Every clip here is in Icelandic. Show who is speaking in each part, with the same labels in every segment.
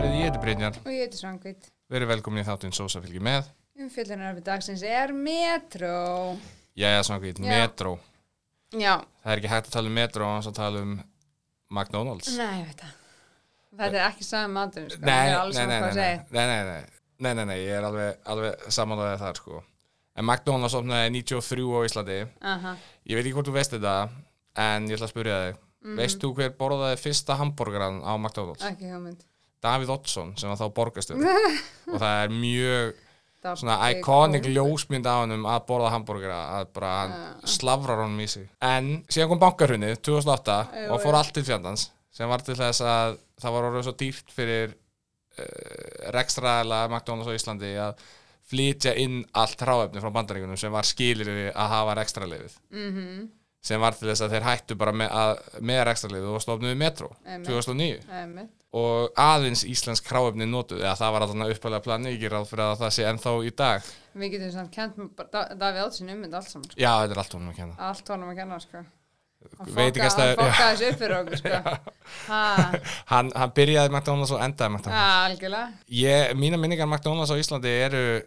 Speaker 1: Brynjar,
Speaker 2: og ég heiti Svangvít.
Speaker 1: verið velkomin í þáttinn Sosa fylgir með.
Speaker 2: Umfyllunar við dagsins er Metro.
Speaker 1: Jæja, svona hvað,
Speaker 2: Já.
Speaker 1: metro.
Speaker 2: Já,
Speaker 1: Það er ekki hægt að tala um metro án þess að tala um McDonalds.
Speaker 2: nei, ég veit það. Þetta er ekki sami matur, sko.
Speaker 1: Nei,
Speaker 2: Ég er
Speaker 1: nei,
Speaker 2: alveg
Speaker 1: nei,
Speaker 2: sama
Speaker 1: nei,
Speaker 2: hvað að
Speaker 1: nei,
Speaker 2: segja.
Speaker 1: nei, nei, nei, nei, nei, nei, ég er alveg, alveg samanlega þar, sko. En McDonalds opnaði 93 á Íslandi.
Speaker 2: Aha.
Speaker 1: Ég veit ekki hvort þú veist þetta, en ég ætla að spyrja þig.
Speaker 2: Mhm.
Speaker 1: Veist þú hver borðaði fyrsta hambúrgaran á McDonalds?
Speaker 2: Ekki hugmynd.
Speaker 1: Davíð Oddsson, sem var þá borgarstjóri. og það er mjög
Speaker 2: Dabbi
Speaker 1: svona iconic ljósmynd á hann að borða hambúrgara að bara hann slavrar honum í sig en síðan kom bankarhunnið 2008
Speaker 2: Jú,
Speaker 1: og fór
Speaker 2: jú.
Speaker 1: allt til fjandans sem var til þess að það var orðið svo dýrt fyrir uh, rekstraðala McDonalds á Íslandi að flytja inn allt ráefni frá bandaríkunum sem var skilir að hafa rekstralefið
Speaker 2: Mhm,
Speaker 1: sem var til þess að þeir hættu bara með, að, með rekstralefið og stofnuðu metro
Speaker 2: Einmitt.
Speaker 1: 2009
Speaker 2: einmitt.
Speaker 1: og aðeins íslensk hráefni notuð eða það var alltaf uppalega plani, ég ger ráð fyrir að það sé ennþá í dag
Speaker 2: Við getum samt kent Da- Davíð Oddsson ummynd allt saman, sko.
Speaker 1: Já, þetta er allt honum að kenna
Speaker 2: Allt honum að kenna, sko. Hann
Speaker 1: Veit ekki að
Speaker 2: fokkaði-
Speaker 1: staður-
Speaker 2: Hann fokkaði þessu upp fyrir okkur, sko. Ha,
Speaker 1: Hann, hann byrjaði McDonalds og endaði McDonalds
Speaker 2: algjörlega.
Speaker 1: ég, Mína minningar um McDonalds á Íslandi eru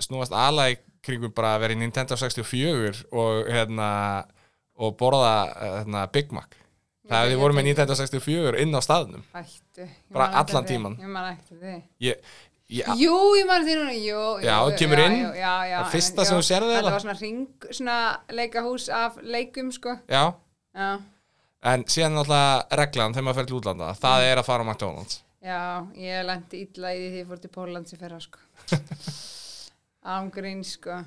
Speaker 1: snúast aðlega kringum bara að vera í Nintendo 64 og, hérna, og borða hérna, Big Mac Það
Speaker 2: Ég-
Speaker 1: við
Speaker 2: ég
Speaker 1: vorum með
Speaker 2: tengi-
Speaker 1: Nintendo 64 inn á staðnum
Speaker 2: Hættu. Ég
Speaker 1: Bara
Speaker 2: man ekki
Speaker 1: allan
Speaker 2: eftir því.
Speaker 1: tímann.
Speaker 2: Ég man ekki eftir því.
Speaker 1: ég, ég,
Speaker 2: Jú, ég man því núna, jú. jú,
Speaker 1: Já,
Speaker 2: jú,
Speaker 1: kemur
Speaker 2: já,
Speaker 1: inn,
Speaker 2: jú, já, já,
Speaker 1: það fyrsta
Speaker 2: einmitt,
Speaker 1: sem
Speaker 2: já.
Speaker 1: þú sérð
Speaker 2: Þetta
Speaker 1: eiginlega.
Speaker 2: var svona ring, svona leikahús af leikum, sko.
Speaker 1: Já,
Speaker 2: Já,
Speaker 1: en síðan náttúrulega reglan þegar maður fer til útlanda það er að fara á McDonalds
Speaker 2: já, ég lendi illa í því því ég fór til Pólans í ferra, sko. Ámgrín, sko.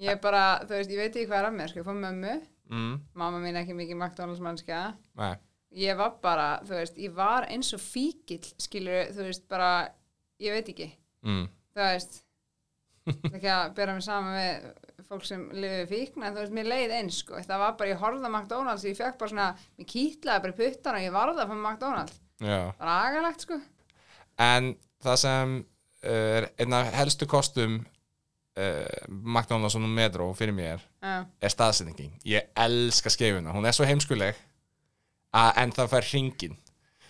Speaker 2: Ég bara, þú veist, ég veit ekki hvað er að mér, sko. Ég fór mömmu,
Speaker 1: mm,
Speaker 2: mamma mín ekki mikið McDonalds mannskja.
Speaker 1: Nei
Speaker 2: Ég var bara, þú veist, ég var eins og fíkil, skilur, þú veist, bara, ég veit ekki.
Speaker 1: mm.
Speaker 2: þú veist það ekki að bera mig saman með fólk sem lifið fíkna en þú veist, mér leið eins sko það var bara, ég horfði á McDonalds ég fekk bara svona, mér kýtlaði bara í puttana og ég varði að fá McDonalds
Speaker 1: Já
Speaker 2: það var agalegt sko
Speaker 1: En það sem eh, er einn af helstu kostum uh, McDonalds og nú Metro fyrir mér
Speaker 2: já,
Speaker 1: er staðsendingin. Ég elska skeifuna. Hún er svo heimskuleg að en það fær hringin.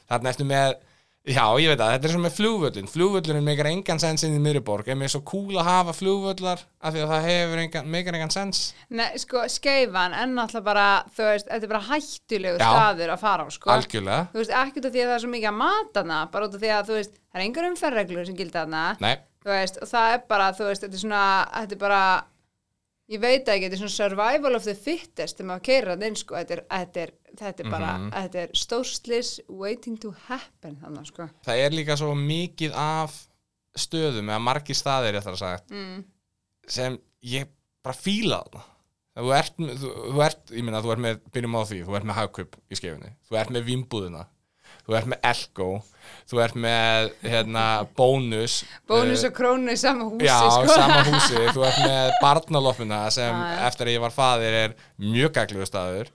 Speaker 1: Þarna eftir með Já, ég veit að þetta er svo með flugvöllin. Flugvöllurinn meikar engan sens inn í miðriborg. Er mér svo cool að hafa flugvöllar af því að það hefur engan, meikar engan sens.
Speaker 2: Nei, sko, skeifan en náttúrulega bara, þú veist, þetta er bara hættulegu
Speaker 1: Já.
Speaker 2: staður að fara á sko
Speaker 1: Algjörlega.
Speaker 2: þú veist, ekkert af því að það er svo mikið að matana bara út af því að, þú veist, það er engar umferðreglur sem gilda þarna
Speaker 1: Nei,
Speaker 2: þú veist, og það er bara, þú veist, þetta er svona, þetta er bara, ég veit ekki, þetta er svona survival of the fittest þegar maður keirir hann inn, sko, þetta er, þetta er, þetta er bara,
Speaker 1: Mhm.
Speaker 2: þetta er stórslis waiting to happen þannig, sko.
Speaker 1: það er líka svo mikið af stöðum eða margir staðir, ég þarf að sagt,
Speaker 2: Mm.
Speaker 1: sem ég bara fíla þarna þú ert, þú, þú ert, ég meina þú ert með byrjum á því, þú ert með hagkaup í skefinni þú ert með vimbúðina, þú ert með elko, þú ert með hérna, bónus
Speaker 2: Bónus
Speaker 1: eh,
Speaker 2: og krónu í sama húsi,
Speaker 1: já,
Speaker 2: sko.
Speaker 1: sama húsi, þú ert með barnaloppuna sem
Speaker 2: Já, já.
Speaker 1: eftir að ég var faðir er mjög gagliðu staður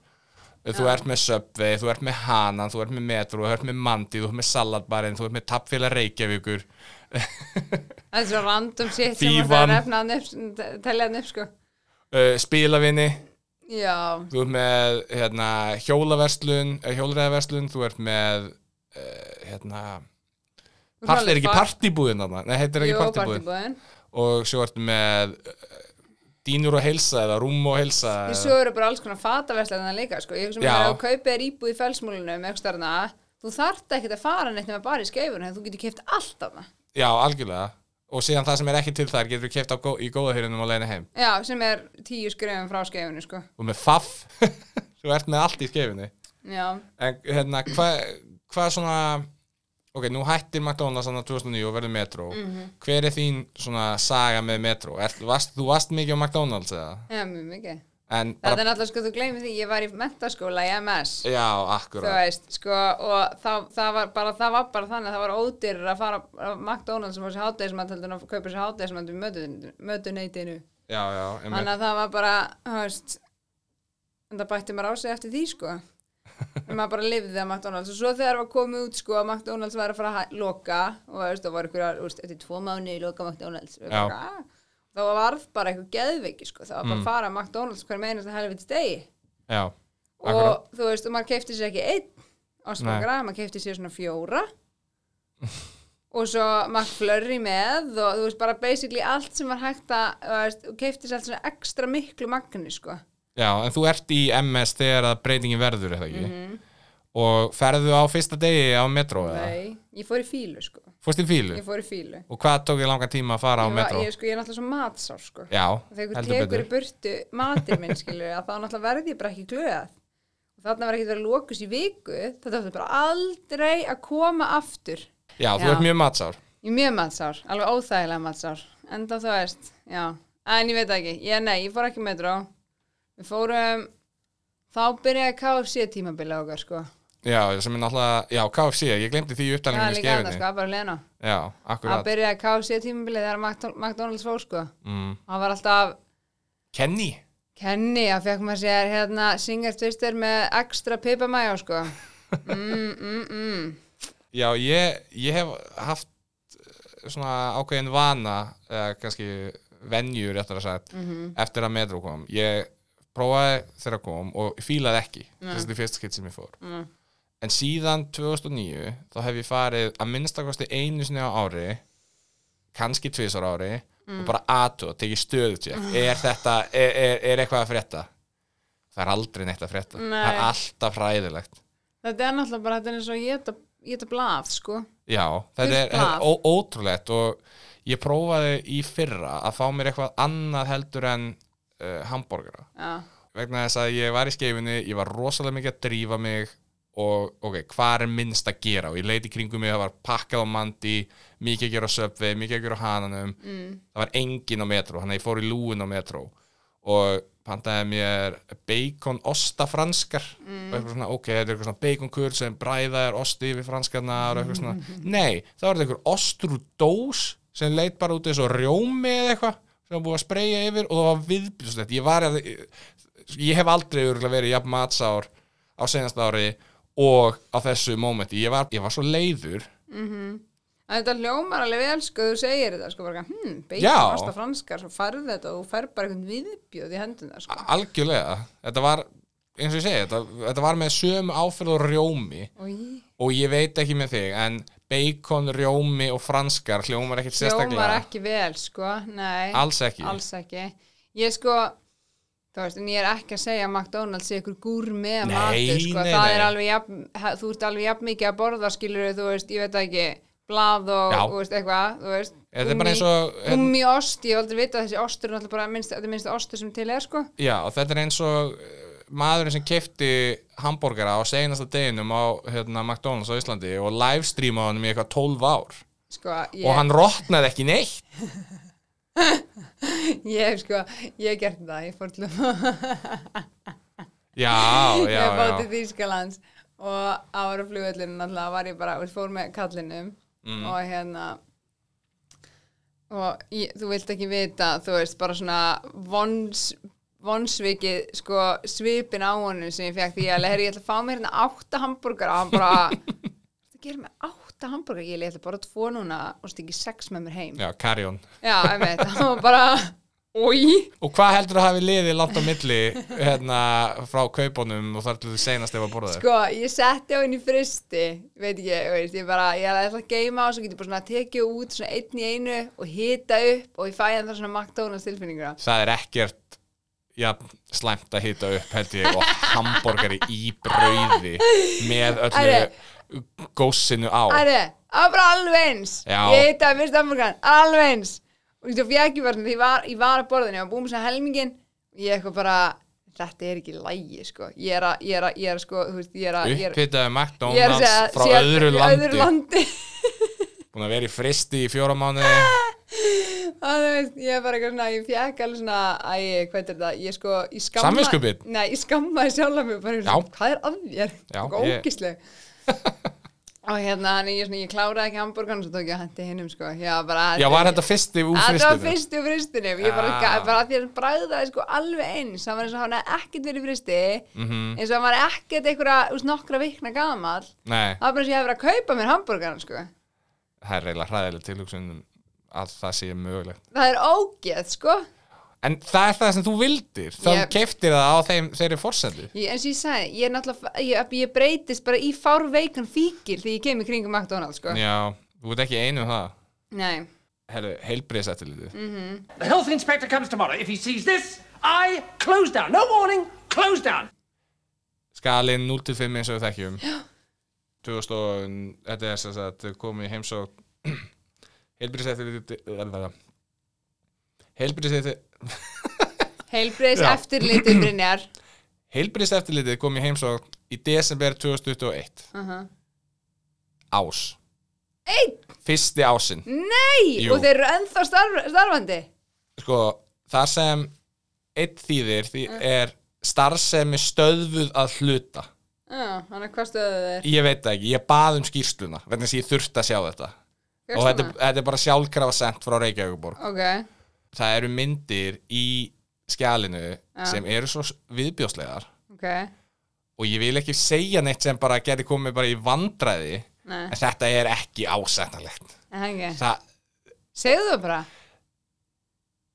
Speaker 1: þú ert með Subway, þú ert með Hanan þú ert með Metro, þú ert með Mandi þú ert með Saladbarinn, þú ert með Tappfélag Reykjavíkur
Speaker 2: Þetta er svo random shit sem
Speaker 1: Fífan.
Speaker 2: maður þarf að nefna hann upp, te- telja hann upp, sko.
Speaker 1: uh, Spilavinni
Speaker 2: Já,
Speaker 1: þú ert með hérna, hjólaverslun, eh, hjólaræðaverslun, þú ert með uh, hérna,
Speaker 2: Þú ert
Speaker 1: part,
Speaker 2: alveg
Speaker 1: er ekki
Speaker 2: far-
Speaker 1: partibúðin þarna, nei, heitir ekki
Speaker 2: jú,
Speaker 1: partibúðin
Speaker 2: partibúðin.
Speaker 1: og svo ert með uh, dýnur og heilsa eða rúm og heilsa
Speaker 2: Því
Speaker 1: eða-
Speaker 2: svo eru bara alls konar fataverslega líka, sko. Ég sem
Speaker 1: Eh. Já.
Speaker 2: að kaupið er íbúð í felsmúlunum, eitthvað starna, þú þarft ekki að fara neitt nema bara í skeifunum, þú getur keft allt af það.
Speaker 1: já, algjörlega og síðan það sem er ekki til þar getur við keft gó, í góðahyrunum og leiðinu heim
Speaker 2: Já, sem er tíu skrefum frá skefinu, sko.
Speaker 1: og með faff, þú ert með allt í skefinu
Speaker 2: Já,
Speaker 1: en hérna, hvað hva svona ok, nú hættir McDonalds hann 2009 og verður Metro hver er þín svona saga með Metro er, varst, þú varst mikið á McDonalds eða
Speaker 2: já mjög mikið.
Speaker 1: en bara,
Speaker 2: Þetta er náttúrulega, sko, þú gleymið því, ég var í mentaskóla í MS,
Speaker 1: já,
Speaker 2: þú
Speaker 1: akkurat
Speaker 2: veist, sko, og það, það, var bara, það var bara þannig að það var ódýrur að fara á McDonalds og fá sér hátæðismantaldun og kaupa sér hátæðismantaldun í mötun- mötuneytinu.
Speaker 1: já, já, einmitt.
Speaker 2: Þannig að það var bara, þú veist, en það bætti maður á sig eftir því, sko. En maður bara lifði að McDonalds og svo þegar var komið út, sko, að McDonalds var að fara að hæ- loka og, þú veist, það var ykkur, þú veist, eftir tvo mánu loka McDonalds. Við
Speaker 1: Já. Mm.
Speaker 2: bara, "Ah." þá varð bara eitthvað geðveiki sko, það var bara að fara að McDonalds hver meðinast að helviti stegi
Speaker 1: já,
Speaker 2: og
Speaker 1: akkurat
Speaker 2: þú veist, og maður keipti sér ekki einn ástfangara, maður keipti sér svona fjóra og svo McFlurry með og þú veist bara basically allt sem var hægt að þú veist, og keiftis allt svona ekstra miklu magni sko
Speaker 1: Já, en þú ert í MS þegar að breytingin verður, eða ekki? Og ferðu á fyrsta degi á metro, eða?
Speaker 2: Nei, ég fór í fílu sko
Speaker 1: Fórst í fílu?
Speaker 2: ég fór í fílu
Speaker 1: Og hvað tók ég langan tíma að fara á
Speaker 2: ég, var,
Speaker 1: metro?
Speaker 2: ég, sko, ég er náttúrulega svo matsár sko
Speaker 1: Já,
Speaker 2: þegar ykkur
Speaker 1: heldur
Speaker 2: tekur
Speaker 1: betur.
Speaker 2: í burtu matinn minn skilur að þá náttúrulega verði ég bara ekki glöð og þarna var ekki verið að lokus í viku þetta átti bara aldrei að koma aftur
Speaker 1: Já, þú
Speaker 2: Já.
Speaker 1: ert mjög matsár.
Speaker 2: Ég er mjög matsár, alveg óþægilega matsár enda þú veist, já en ég veit það ekki, ég nei, ég fór ekki með drá við fórum þá byrjaði KFC tímabilið okkar sko
Speaker 1: Já, sem er náttúrulega, já, KFC, ég glemdi því í
Speaker 2: það er
Speaker 1: upptalningunni í
Speaker 2: líka annað
Speaker 1: skefinni.
Speaker 2: sko, það er bara lena
Speaker 1: Já,
Speaker 2: það
Speaker 1: akkurat.
Speaker 2: byrjaði KFC tímabilið þegar Mc- McDonalds fór sko
Speaker 1: Mm.
Speaker 2: það var alltaf
Speaker 1: Kenny?
Speaker 2: Kenny, það fekk maður sér hérna Singer Twister með ekstra pipamæjó sko mm, mm, mm.
Speaker 1: Já, ég, ég hef haft eh, svona ákveðin vana, eða kannski venjur, réttar að sagt, eftir að metro kom. Ég prófaði þegar það kom og fílaði ekki. Þessi er fyrsta skitt sem ég fór.
Speaker 2: Mm.
Speaker 1: En síðan 2009, þá hef ég farið að minnstakosti einu sinni á ári, kannski tvisar ári, og bara aðtöð, tekið stöðutjekk. Er þetta, er, er, er eitthvað að frétta? Það er aldrei neitt að frétta. Það er
Speaker 2: Nei.
Speaker 1: alltaf hræðilegt.
Speaker 2: þetta er náttúrulega bara þetta er eins og ég geta, geta blað sko
Speaker 1: Já, þetta
Speaker 2: Fullt
Speaker 1: er, þetta
Speaker 2: blað.
Speaker 1: er ó- ótrúlegt og ég prófaði í fyrra að fá mér eitthvað annað heldur en uh, hambúrgara
Speaker 2: já,
Speaker 1: vegna þess að ég var í skeifinni, ég var rosalega mikið að drífa mig og ok, hvað er minnst að gera og ég leiti kringum mig, það var pakkað á mandi mikið að gera á söpvi, mikið að gera á hananum
Speaker 2: mm.
Speaker 1: það var engin á metró, þannig að ég fór í lúin á metró og pantaði mér bacon osta franskar og eitthvað svona, ok, þetta er eitthvað svona baconkur sem bræðaðar osti yfir franskarnar og eitthvað svona, nei, þá var þetta eitthvað ostrudós sem leit bara út eins og rjómi eða eitthvað sem var búið að spreyja yfir og það var viðbjörnslegt ég var, að- ég hef aldrei örugglega verið jafn matsár á senast ári og á þessu mómenti, ég var, ég var svo leiður
Speaker 2: En þetta hljómar alveg vel sko, þú segir þetta sko bara, hm,
Speaker 1: Já.
Speaker 2: beigur ásta franskar, svo farði þetta og þú fer bara einhvern viðbjóð í hendina sko.
Speaker 1: algjörlega, þetta var eins og ég segi, þetta, þetta var með sömu áferð og rjómi
Speaker 2: Og
Speaker 1: og ég veit ekki með þig, en bacon, rjómi og franskar hljómar ekkert
Speaker 2: hljómar
Speaker 1: sérstaklega
Speaker 2: ekki vel sko, nei,
Speaker 1: alls ekki,
Speaker 2: alls ekki. Ég sko, þú veist, en ég er ekki að segja að McDonalds sé ykkur gúr með
Speaker 1: Nei,
Speaker 2: matur sko,
Speaker 1: nei,
Speaker 2: það
Speaker 1: nei.
Speaker 2: er alveg jafn, ha- þú ert alveg jafn mikið að borða skilur þú veist, ég veit það ekki, blað og,
Speaker 1: Já.
Speaker 2: þú veist, eitthvað, þú veist,
Speaker 1: þetta er bara eins og hérna,
Speaker 2: Gummi ost, ég hef aldrei vita þessi ostur er náttúrulega bara minnst, þetta er minnst ostur sem til er sko.
Speaker 1: já, og þetta er eins og eh, maðurinn sem kefti hambúrgara á seinasta deginum á hérna, McDonalds á Íslandi og livestreamaði honum í eitthvað 12 ár
Speaker 2: Sko, ég,
Speaker 1: og hann rotnaði ekki neitt
Speaker 2: Ég hef sko, ég hef gert það, ég fór til
Speaker 1: já,
Speaker 2: ég
Speaker 1: já,
Speaker 2: hef
Speaker 1: já,
Speaker 2: til Þýskalands og á ára flugvöllinu náttúrulega var ég bara, og fór með kallinum
Speaker 1: Mm.
Speaker 2: og hérna og ég, þú vilt ekki vita, þú veist, bara svona vons, vonsvikið sko svipin á honum sem ég fekk því ég alveg, herri, ég ætla að fá mér hérna átta hambúrgar og hann bara það gerir mig átta hambúrgar, ég ætla bara að tvo núna og stingi sex með mér heim já,
Speaker 1: já, karjón
Speaker 2: einmitt, hann var bara Új,
Speaker 1: Og hvað heldur að hafi liðið langt á milli hérna, frá kaupunum og þar til þú seinast ef að borða þér?
Speaker 2: Sko, ég setti á henni fristi, veit ekki, þú veist, ég bara, ég ætla að geima og svo get ég bara svona að tekið út svona einn í einu og hita upp og ég fæ hann þar svona McDonalds tilfinninguna.
Speaker 1: Það er ekkert ja, slæmt að hita upp held ég og hambúrgari í brauði með
Speaker 2: Æri.
Speaker 1: öllu góssinu á.
Speaker 2: Æri, það var bara alveg eins.
Speaker 1: Já.
Speaker 2: Ég hitaði fyrst hamburgan, alveg eins. Og þú fjæk ég bara svona, því ég var, ég var að borðinu, ég var búin með svona helmingin, ég eitthvað bara, þetta er ekki lægi, sko. Ég er að, ég er að, ég er að, sko, þú veist, ég er að, ég er
Speaker 1: Upphitaðu
Speaker 2: Ég er að
Speaker 1: McDonalds
Speaker 2: segja,
Speaker 1: frá
Speaker 2: sé-
Speaker 1: öðru landi.
Speaker 2: öðru landi.
Speaker 1: Búin að vera í fristi í fjóra mánuði.
Speaker 2: Já, þú veist, ég er bara eitthvað svona, ég fjekk alveg svona, æ, hvað er þetta, ég sko, ég skamma...
Speaker 1: Samviskubit?
Speaker 2: Nei, ég skammaði sjálf mig bara,
Speaker 1: Já.
Speaker 2: svona, hvað er af þér?
Speaker 1: Já,
Speaker 2: Eitthvað
Speaker 1: ég-
Speaker 2: ógisleg. og hérna, hann, ég, svona, ég kláraði ekki hambúrgan og svo tók ég að hendi hinnum, sko, já, bara...
Speaker 1: Já, var þetta fyrsti úr
Speaker 2: Þetta var
Speaker 1: fristinu?
Speaker 2: fyrstu fristinum, ég bara,
Speaker 1: Ah.
Speaker 2: ja. bara að því að hann bræðaði sko alveg eins, hann var eins og hann hefði ekkert verið í fristi,
Speaker 1: Mhm.
Speaker 2: eins og hann var ekkert einhverja, úst, nokkra vikna gamall,
Speaker 1: Nei,
Speaker 2: það var bara eins og ég hefði verið að kaupa mér hambúrgarn, sko.
Speaker 1: það er reyla hræðileg tilhugsunum um að það sé mögulegt.
Speaker 2: Það er ógeð, sko.
Speaker 1: En það er það sem þú vildir. Þá
Speaker 2: Ég-
Speaker 1: keftir það á þeim, þeirri forsendu.
Speaker 2: Ég, eins og ég sagði, ég er náttúrulega, ég, ég breytist bara í fárveikan fíkil þegar ég kem í kringum McDonalds, sko.
Speaker 1: Já, Þú ert ekki einu um það
Speaker 2: Nei,
Speaker 1: Herru, heilbriðsættilitið
Speaker 3: The health inspector comes tomorrow. If he sees this, I close down. No warning, close down.
Speaker 1: Skalinn 0-5 eins og við þekkjum 2000 og þetta er sem sagt komið heimsók heilbriðsættilitið heilbriðsættilitið
Speaker 2: heilbreiðs
Speaker 1: Já.
Speaker 2: eftirliti Brynjar
Speaker 1: Heilbriðseftirlitið kom í heimsókn í desember 2021
Speaker 2: Aha.
Speaker 1: Ás Einn Fyrsti ásinn
Speaker 2: Nei,
Speaker 1: Jú.
Speaker 2: og þeir eru ennþá starf, starfandi
Speaker 1: Sko, þar sem einn þýðir því er starfsemi stöðvuð að hluta
Speaker 2: Já, hann er hvað stöðu þeir
Speaker 1: Ég veit það ekki, ég bað um skýrsluna vegna þess að ég þurfti að sjá þetta og þetta, þetta er bara sjálfkrafa sent frá Reykjavíkuborg
Speaker 2: Ok,
Speaker 1: Það eru myndir í skjalinu sem eru svo viðbjóslegar
Speaker 2: ok,
Speaker 1: og ég vil ekki segja neitt sem bara geti komið bara í vandræði
Speaker 2: nei,
Speaker 1: en þetta er ekki ásættanlegt
Speaker 2: en hengi
Speaker 1: Það,
Speaker 2: Segðu það bara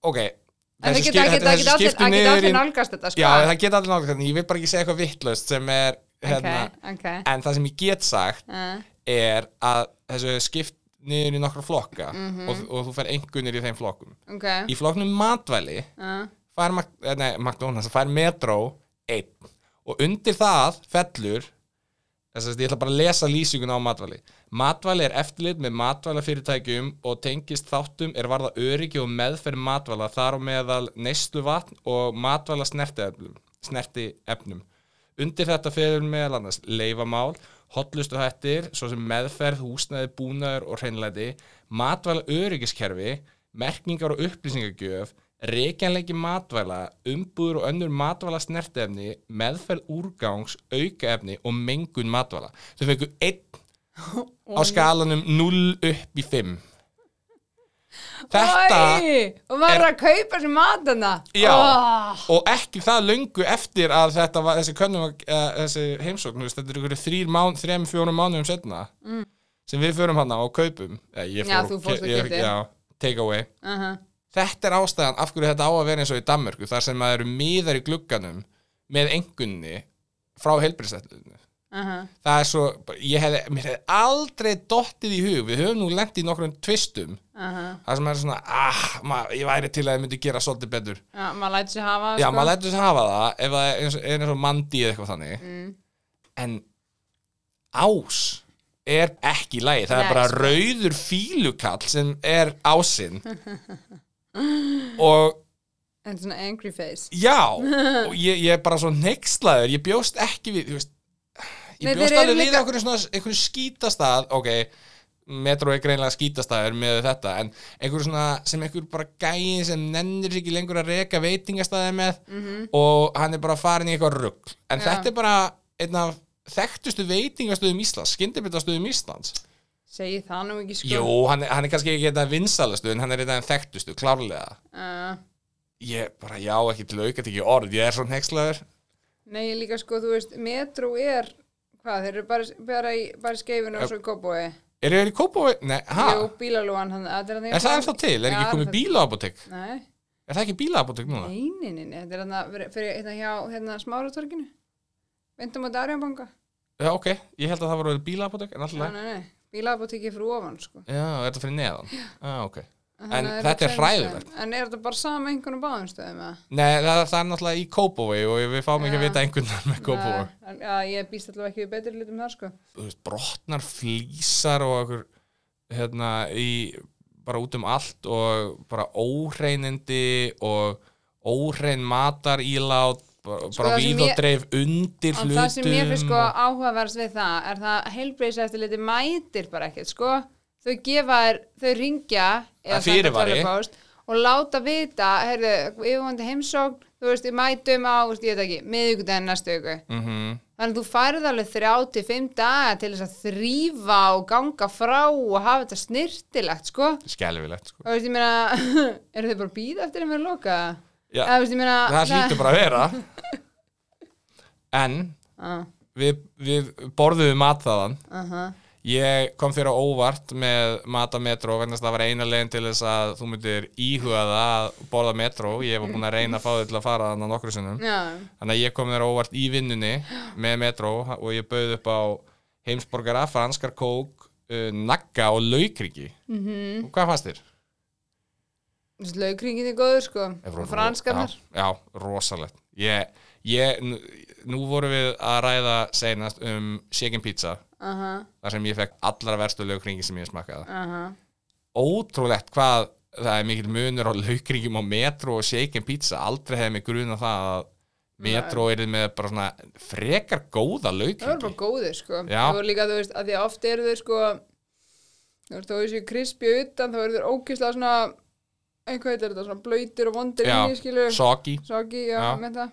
Speaker 1: ok
Speaker 2: En
Speaker 1: þessi
Speaker 2: það
Speaker 1: skip-
Speaker 2: geta
Speaker 1: þetta-
Speaker 2: allir,
Speaker 1: þessi
Speaker 2: allir,
Speaker 1: skipti
Speaker 2: allir,
Speaker 1: niður
Speaker 2: allir
Speaker 1: í-
Speaker 2: nálgast þetta sko
Speaker 1: já, það geta allir nálgast þetta ég vil bara ekki segja eitthvað vittlust sem er hérna,
Speaker 2: Ok, ok
Speaker 1: en það sem ég get sagt
Speaker 2: uh,
Speaker 1: er að þessu skipt niður í nokkra flokka og, og þú fer engunir í þeim flokkum
Speaker 2: Mhm. Ok,
Speaker 1: í flokknum matvæli
Speaker 2: uh,
Speaker 1: fær Mac, eh, nei, McDonalds, fær Metro einn og undir það fellur þess að ég ætla bara að lesa lýsingun á matvæli matvæli er eftirlit með matvælafyrirtækjum og tengist þáttum er varða öryggi og meðferð matvæla þar á meðal neyslu vatn og matvæla snertiefnum, snertiefnum. undir þetta fyrir meðal annars leifamál, hotlustu hættir svo sem meðferð, húsnæði, búnaður og hreinlæti, matvæla öryggiskerfi merkingar og upplýsingagjöf reikjanleiki matvæla, umbúður og önnur matvæla snertefni, meðferð úrgangs, aukaefni og mengun matvæla. Þau fengu einn á skalanum 0 upp í 5. Þetta,
Speaker 2: Og maður er
Speaker 1: er-
Speaker 2: að kaupa sér matana
Speaker 1: já,
Speaker 2: oh,
Speaker 1: og ekki það löngu eftir að þetta var, þessi könnum, var- eh, þessi heimsókn, þú veist, þetta er ykkur þrýr mán, þrem, fjórum mánuðum setna, mm. sem við förum hana og kaupum. Eh, Ég fór,
Speaker 2: Já, þú fórst og
Speaker 1: ég-
Speaker 2: keyptir.
Speaker 1: Já, take away.
Speaker 2: uh -huh.
Speaker 1: Þetta er ástæðan af hverju þetta á að vera eins og í Danmörku þar sem það eru miðar í glugganum með engunni frá helbriðstættunni
Speaker 2: Uh -huh.
Speaker 1: það er svo, ég hefði, mér hefði aldrei dottið í hug, við höfum nú lent í nokkrum tvistum, það sem er svona ah, maður, ég væri til að ég myndi gera svolítið betur
Speaker 2: Já, maður lætur sér hafa
Speaker 1: já,
Speaker 2: sko.
Speaker 1: maður lætur þess að hafa það ef það er eins og, er eins og mandi eða eitthvað þannig
Speaker 2: Mm.
Speaker 1: en ás er ekki í lagi, það
Speaker 2: Nei,
Speaker 1: er bara
Speaker 2: sko.
Speaker 1: rauður fílukall sem er ásinn og
Speaker 2: En svona angry face
Speaker 1: Já, og ég, ég er bara svo neykslaður, ég bjóst ekki við, þú veist, ég
Speaker 2: Nei, þeir
Speaker 1: bjóst
Speaker 2: eru
Speaker 1: alveg við
Speaker 2: líka-
Speaker 1: einhverjum svona, einhverjum skítastað, ok, metro er greinlega skítastaður með þetta, en einhverjum svona, sem einhver bara gæi sem nennir ekki lengur að reka veitingastaði með og hann er bara farin í eitthvað rugg, en
Speaker 2: Mhm. Já.
Speaker 1: þetta er bara einn af þekktustu veitingastöðum Íslands, skyndibitaðstöðum Íslands.
Speaker 2: Segji það nú ekki sko
Speaker 1: Jú, hann, er- hann er kannski ekki eitthvað vinsalastu, en hann er eitthvað þekktustu, klárlega.
Speaker 2: uh,
Speaker 1: Ég bara, já, ekki til aukat ekki orð, ég er svo neykslaður.
Speaker 2: Nei, ég líka sko, þú veist, metro er Hvað, þeir eru bara, bara, í, bara í skeifinu og svo í kópói
Speaker 1: Eru þeir í Kópavói? Nei, hæ?
Speaker 2: Jú, bílalúan hann, þetta er hann
Speaker 1: Er það ennþá til? Er ekki komið bílaapotek?
Speaker 2: Nei,
Speaker 1: Er það ekki bílaapotek núna?
Speaker 2: eininni, þetta er hann að fyrir, fyrir hérna hjá hérna smáratorginu Vindum á Darjanbanga
Speaker 1: Já, ok. Ég held að það var orðið bílaapotek, en
Speaker 2: Nei,
Speaker 1: alltaf.
Speaker 2: nei, nei, bílabótiki fyrir ofan sko
Speaker 1: Já, er þetta fyrir neðan? Já, ok. En
Speaker 2: Þannig að
Speaker 1: þetta er
Speaker 2: tveimur
Speaker 1: hræðilegt.
Speaker 2: stöðum. En er þetta bara sama einhvern og báðum stöðum eða?
Speaker 1: Nei, það, það er náttúrulega í Kópavói og við fáum ekki að vita einhvern veginn með Kópavói.
Speaker 2: Nei, Já, ég býst allavega ekki við betri hlutum þar sko
Speaker 1: Þú veist, brotnar flýsar og okkur, hérna, í, bara út um allt og bara óhreinindi og óhrein matarílát, bara,
Speaker 2: Sko,
Speaker 1: bara
Speaker 2: það sem
Speaker 1: víð og
Speaker 2: ég-
Speaker 1: dreif undir
Speaker 2: En
Speaker 1: hlutum.
Speaker 2: það sem ég finnst sko
Speaker 1: og-
Speaker 2: áhugaverðs við það er það heilbreyðis eftir liti mætir bara ekkert sko Þau gefa þér, þau ringja eða
Speaker 1: Það
Speaker 2: senda
Speaker 1: fyrirvari.
Speaker 2: tölvupóst og láta vita, heyrðu, yfirvandi heimsókn þú veist, ég mætum á, þú veist, ég veit ekki miðvikudaginn næstu ykkur
Speaker 1: Mhm.
Speaker 2: Þannig að þú færið alveg þrjá til fimm daga til þess að þrýfa og ganga frá og hafa þetta snirtilegt, sko.
Speaker 1: Skelfilegt, sko.
Speaker 2: Og veist, ég meina, eru þau bara að býða eftir að mér loka?
Speaker 1: Já.
Speaker 2: Eða, veist, ég meina,
Speaker 1: það hlýtur bara að vera en
Speaker 2: Ah,
Speaker 1: við, við borðuðum mat þaðan
Speaker 2: aha,
Speaker 1: ég kom þér á óvart með mat af metro vegna þess að það var eina leiðin til þess að þú myndir íhuga það að borða metro ég var búin að reyna að fá þig til að fara þannig nokkru sinnum
Speaker 2: já,
Speaker 1: þannig að ég kom þér á óvart í vinnunni með metro og ég bauð upp á heimsborgara, franskar kók uh, nagga og laukriki mm -hmm. Hvað fannst þér?
Speaker 2: Laugringin er góður sko
Speaker 1: Ef
Speaker 2: og
Speaker 1: ro-
Speaker 2: franskarnar
Speaker 1: já, já, rosalegt ég, ég, nú- Nú vorum við að ræða seinast um shaken pizza
Speaker 2: Aha,
Speaker 1: þar sem ég fekk allra verstu laukringi sem ég smakkaði
Speaker 2: aha
Speaker 1: ótrúlegt hvað það er mikill munur á laukringum á metro og shaken pizza aldrei hefði mig gruna það að metro er með bara svona frekar góða
Speaker 2: Það voru
Speaker 1: laukringi
Speaker 2: bara góðir sko
Speaker 1: Já.
Speaker 2: Það voru líka, þú veist, að því að oft eru þau sko Þú veist, þó þessu krispi utan þá eru þau ókislega svona einhvað heitir þetta, svona blöytir og vondir inni, skilur,
Speaker 1: soggy
Speaker 2: soggi, já,
Speaker 1: Já.
Speaker 2: með það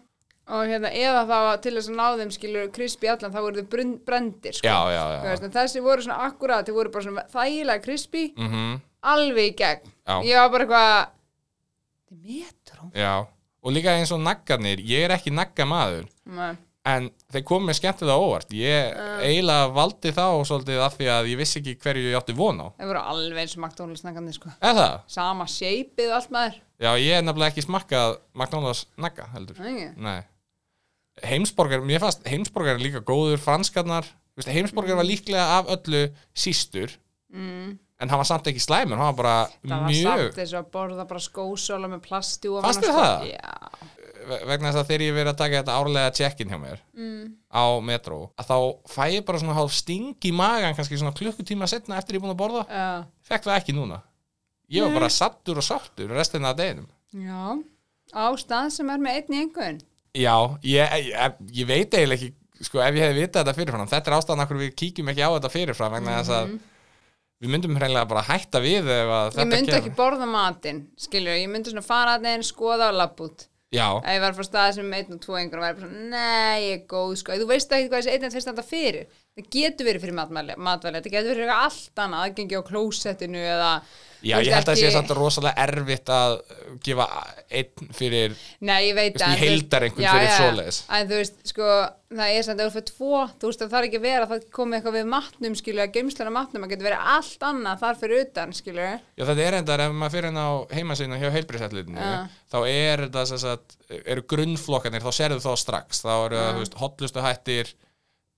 Speaker 2: og hérna, eða þá að til þess að ná þeim skilur krispi allan, þá voru þau brun- brendir sko.
Speaker 1: já, já,
Speaker 2: Þú
Speaker 1: já,
Speaker 2: veist, en þessi voru svona akkurat, þau voru bara svona þægilega krispi,
Speaker 1: mm
Speaker 2: alveg í gegn
Speaker 1: Já.
Speaker 2: ég var bara eitthvað þetta er metró
Speaker 1: já. og líka eins og naggarnir ég er ekki naggamaður
Speaker 2: Nei.
Speaker 1: en þeir komu mér skemmtilega óvart ég
Speaker 2: Ah.
Speaker 1: eiginlega valdi þá svolítið af því að ég vissi ekki hverju ég átti von á
Speaker 2: það voru alveg eins og McDonalds naggandi sko.
Speaker 1: eða það?
Speaker 2: sama shapeið og allt maður
Speaker 1: Já, ég er nefnilega ekki smakkað McDonalds nagga heldur
Speaker 2: Nei, ekki?
Speaker 1: Nei. Heimsborgar, mér fannst heimsborgar er líka góður franskarnar Vist, heimsborgar
Speaker 2: Mm.
Speaker 1: var líklega af öllu sístur mm. en hann var samt ekki slæmur hann var bara
Speaker 2: það var
Speaker 1: mjög
Speaker 2: samt eins og að borða bara skósóla með plasti og sko.
Speaker 1: Fannst þér það?
Speaker 2: Já,
Speaker 1: ve- vegna þess að þegar ég verið að taka þetta árlega check-in hjá mér mm. á metro að þá fæ ég bara svona hálf sting í magan kannski svona klukkutíma setna eftir ég búin að borða
Speaker 2: já,
Speaker 1: fekk það ekki núna ég var bara sattur og sáttur restina af deginum
Speaker 2: já á stað sem er með einn í einhvern
Speaker 1: já, ég, ég, ég veit eiginlega ekki sko ef ég hefði vitað þetta fyrirfram þetta er ástæðan okkur við kíkjum ekki á þetta fyrirfram vegna þess að við myndum hreinlega bara hætta við ef að
Speaker 2: Mhm. ég
Speaker 1: þetta
Speaker 2: myndi ekki borða matinn skilur, ég myndi svona fara að neginn skoða og labb út
Speaker 1: já,
Speaker 2: ef ég var frá stað sem er með einn og tvo einhvern og væri bara svona, nei, ég er góð sko þú veist ekki hvað þessi einn og tveir standa fyrir það getur verið fyrir matvæli, matvæli. þetta getur verið eitthvað allt annað, aðgengi á klósettinu eða
Speaker 1: já ég
Speaker 2: þú veist,
Speaker 1: held að það sé
Speaker 2: ekki-
Speaker 1: samt rosalega erfitt að uh, gefa einn fyrir
Speaker 2: Nei, ég veit
Speaker 1: Þú veist,
Speaker 2: en
Speaker 1: í
Speaker 2: þú veist-
Speaker 1: heildar einhvern
Speaker 2: Já,
Speaker 1: fyrir
Speaker 2: já, já.
Speaker 1: svoleiðis.
Speaker 2: En þú veist, sko, það er samt að þú fyrir tvo, þú veist, það þarf ekki að vera það komið eitthvað við matnum, skilur, að geimslan á matnum það getur verið allt annað þar fyrir utan, skilur
Speaker 1: Já, þetta er endar, ef maður fyrir henn á heimasíðinu hjá heilbriðsætlitinu,
Speaker 2: Já.
Speaker 1: þá er þetta sem sagt, eru grunnflokkanir, þá sérðu þá strax, þá eru, uh. þú veist, hotlustu hættir,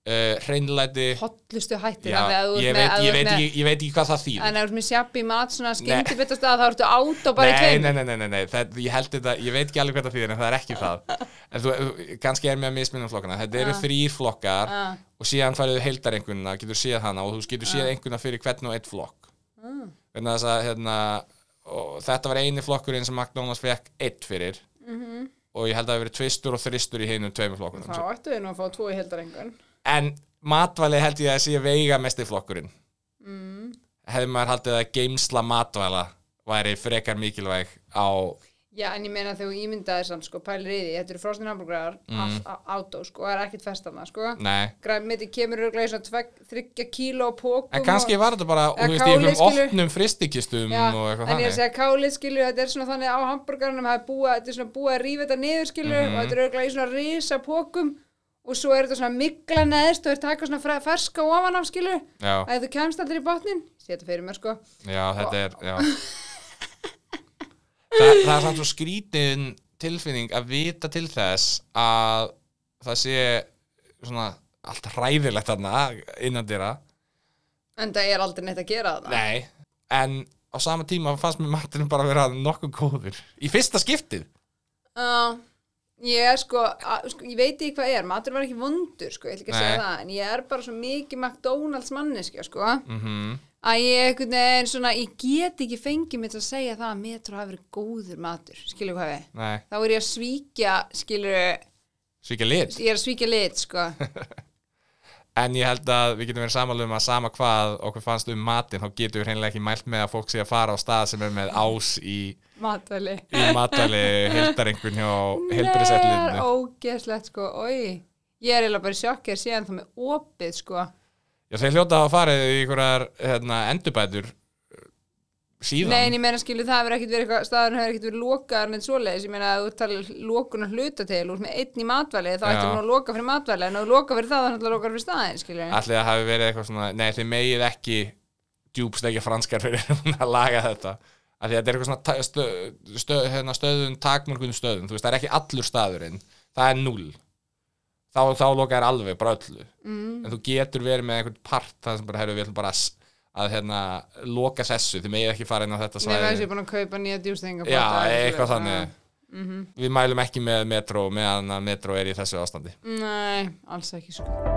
Speaker 1: uh, hreinlæti,
Speaker 2: Hotlustu hættir
Speaker 1: já,
Speaker 2: þannig að þú ert
Speaker 1: ég
Speaker 2: með-
Speaker 1: veit,
Speaker 2: að þú
Speaker 1: ég,
Speaker 2: ert
Speaker 1: veit
Speaker 2: með-
Speaker 1: ekki, ég veit ekki hvað það þýðir.
Speaker 2: En ef þú ert með sjabbi mat, svona skyndi betast að það ertu át og bara í
Speaker 1: Nei,
Speaker 2: tveim
Speaker 1: nei, nei, nei, nei, nei. Það, ég held þetta, ég veit ekki alveg hvað það þýðir en það er ekki það en þú, kannski er mér að mismunum flokkana þetta eru þrýr flokkar
Speaker 2: Ah.
Speaker 1: og síðan færðu heildarenguna, getur séð hana og þú getur séð enguna fyrir hvern og einn flokk
Speaker 2: Mm.
Speaker 1: þannig að þess að hérna, og þetta var eini flokkurinn sem McDonalds fekk einn fyrir
Speaker 2: Mhm.
Speaker 1: -hmm. og ég held að það hafi verið tvistur og þristur í hinum tveimur
Speaker 2: Þá
Speaker 1: flokkunum
Speaker 2: ættu við nú að fá tvo í heldarengun
Speaker 1: en matvæli held ég að sé veiga mesti flokkurinn mm. hefði maður haldið að geimsla matvæla væri frekar mikilvæg á
Speaker 2: Já, en ég meina þegar þú ímyndaðir samt, sko, pælir í því Þetta eru frostin hamburgrar, mm. átó, sko, það er ekkert festana, sko
Speaker 1: Nei,
Speaker 2: Græmiti kemur örugglega í svona tvegg- þriggja kíló á pókum
Speaker 1: en
Speaker 2: og-
Speaker 1: kannski var þetta bara
Speaker 2: Eða
Speaker 1: þú veist, í einhverjum
Speaker 2: káli, skilur.
Speaker 1: opnum fristikistum
Speaker 2: Já,
Speaker 1: og eitthvað
Speaker 2: en ég er að
Speaker 1: þannig
Speaker 2: segja kálið skilur, þetta er svona þannig á hambúrgarnum það er búið, þetta er svona búið að rífa þetta niður skilur
Speaker 1: Mhm.
Speaker 2: og þetta er auðvitað í svona risa pókum og svo er þetta svona mikla neðst og er taka svona fre- ferska ofan af skilur
Speaker 1: Já,
Speaker 2: að þú kemst allir í botnin, sé þetta fyrir mér sko
Speaker 1: já, þetta er já. Þa, Það er samt svo skrítin tilfinning að vita til þess að það sé svona allt hræðilegt þarna innan dýra
Speaker 2: en það er aldrei neitt að gera það
Speaker 1: Nei, en á sama tíma fannst mér maturinn bara að vera nokkuð góður í fyrsta skiptið
Speaker 2: Já, ég er sko, að, sko ég veit ekki hvað er, matur var ekki vondur sko, ég ætla ekki að segja
Speaker 1: Nei.
Speaker 2: það, en ég er bara svo mikið McDonalds manneskja sko
Speaker 1: Mhm.
Speaker 2: að ég einhvern veginn svona, ég get ekki fengið mér til að segja það að metro hafi verið góður matur, skilur hvað við
Speaker 1: Nei,
Speaker 2: þá er ég að svíkja, skilur ég
Speaker 1: svo ekki lit
Speaker 2: er að svíkja lit, sko
Speaker 1: En ég held að við getum verið samanlega um að sama hvað okkur fannst um matinn, þá getum við hreinlega ekki mælt með að fólk sé að fara á stað sem er með ás í,
Speaker 2: matvæli
Speaker 1: í matali heldarengun hjá
Speaker 2: Nei,
Speaker 1: helbriðsellinu.
Speaker 2: ógeðslegt, sko, oi ég er eiginlega bara sjokkið síðan þá með opið, sko
Speaker 1: Já, þeir hljóta að hafa farið í einhverjar hérna, endurbætur uh, síðan.
Speaker 2: Nei, en ég meina skilur það hefur ekkert verið eitthvað, staðurinn hefur ekkert verið lokaður neitt svoleiðis, ég meina að þú talar lokun og hluta til, þú ert með einn í matvæli þá
Speaker 1: Já.
Speaker 2: ættir hún að loka fyrir matvæli, en ef þú loka fyrir það þannig að loka fyrir staðin, skilur
Speaker 1: Ætli að hafi verið eitthvað svona, nei þið megið ekki djúbstekja franskar fyrir að laga þetta. Af því að þetta er eitthvað svona ta- stö, stö, hérna, stöðun, takmörgum stöðum, þú veist, það er ekki allur staðurinn, það er null. Þá, þá lokaðir alveg bara öllu. Mm. En þú getur verið með einhvern part það sem bara, herru, við ætlum bara að s- að hérna loka sessu, þið megið ekki fara inn á þetta
Speaker 2: Nei,
Speaker 1: svæði.
Speaker 2: við erum búin að kaupa nýja djústinga
Speaker 1: Já, Mhm. eitthvað þannig Við mælum ekki með metro meðan að metro er í þessu ástandi
Speaker 2: Nei, alls ekki sko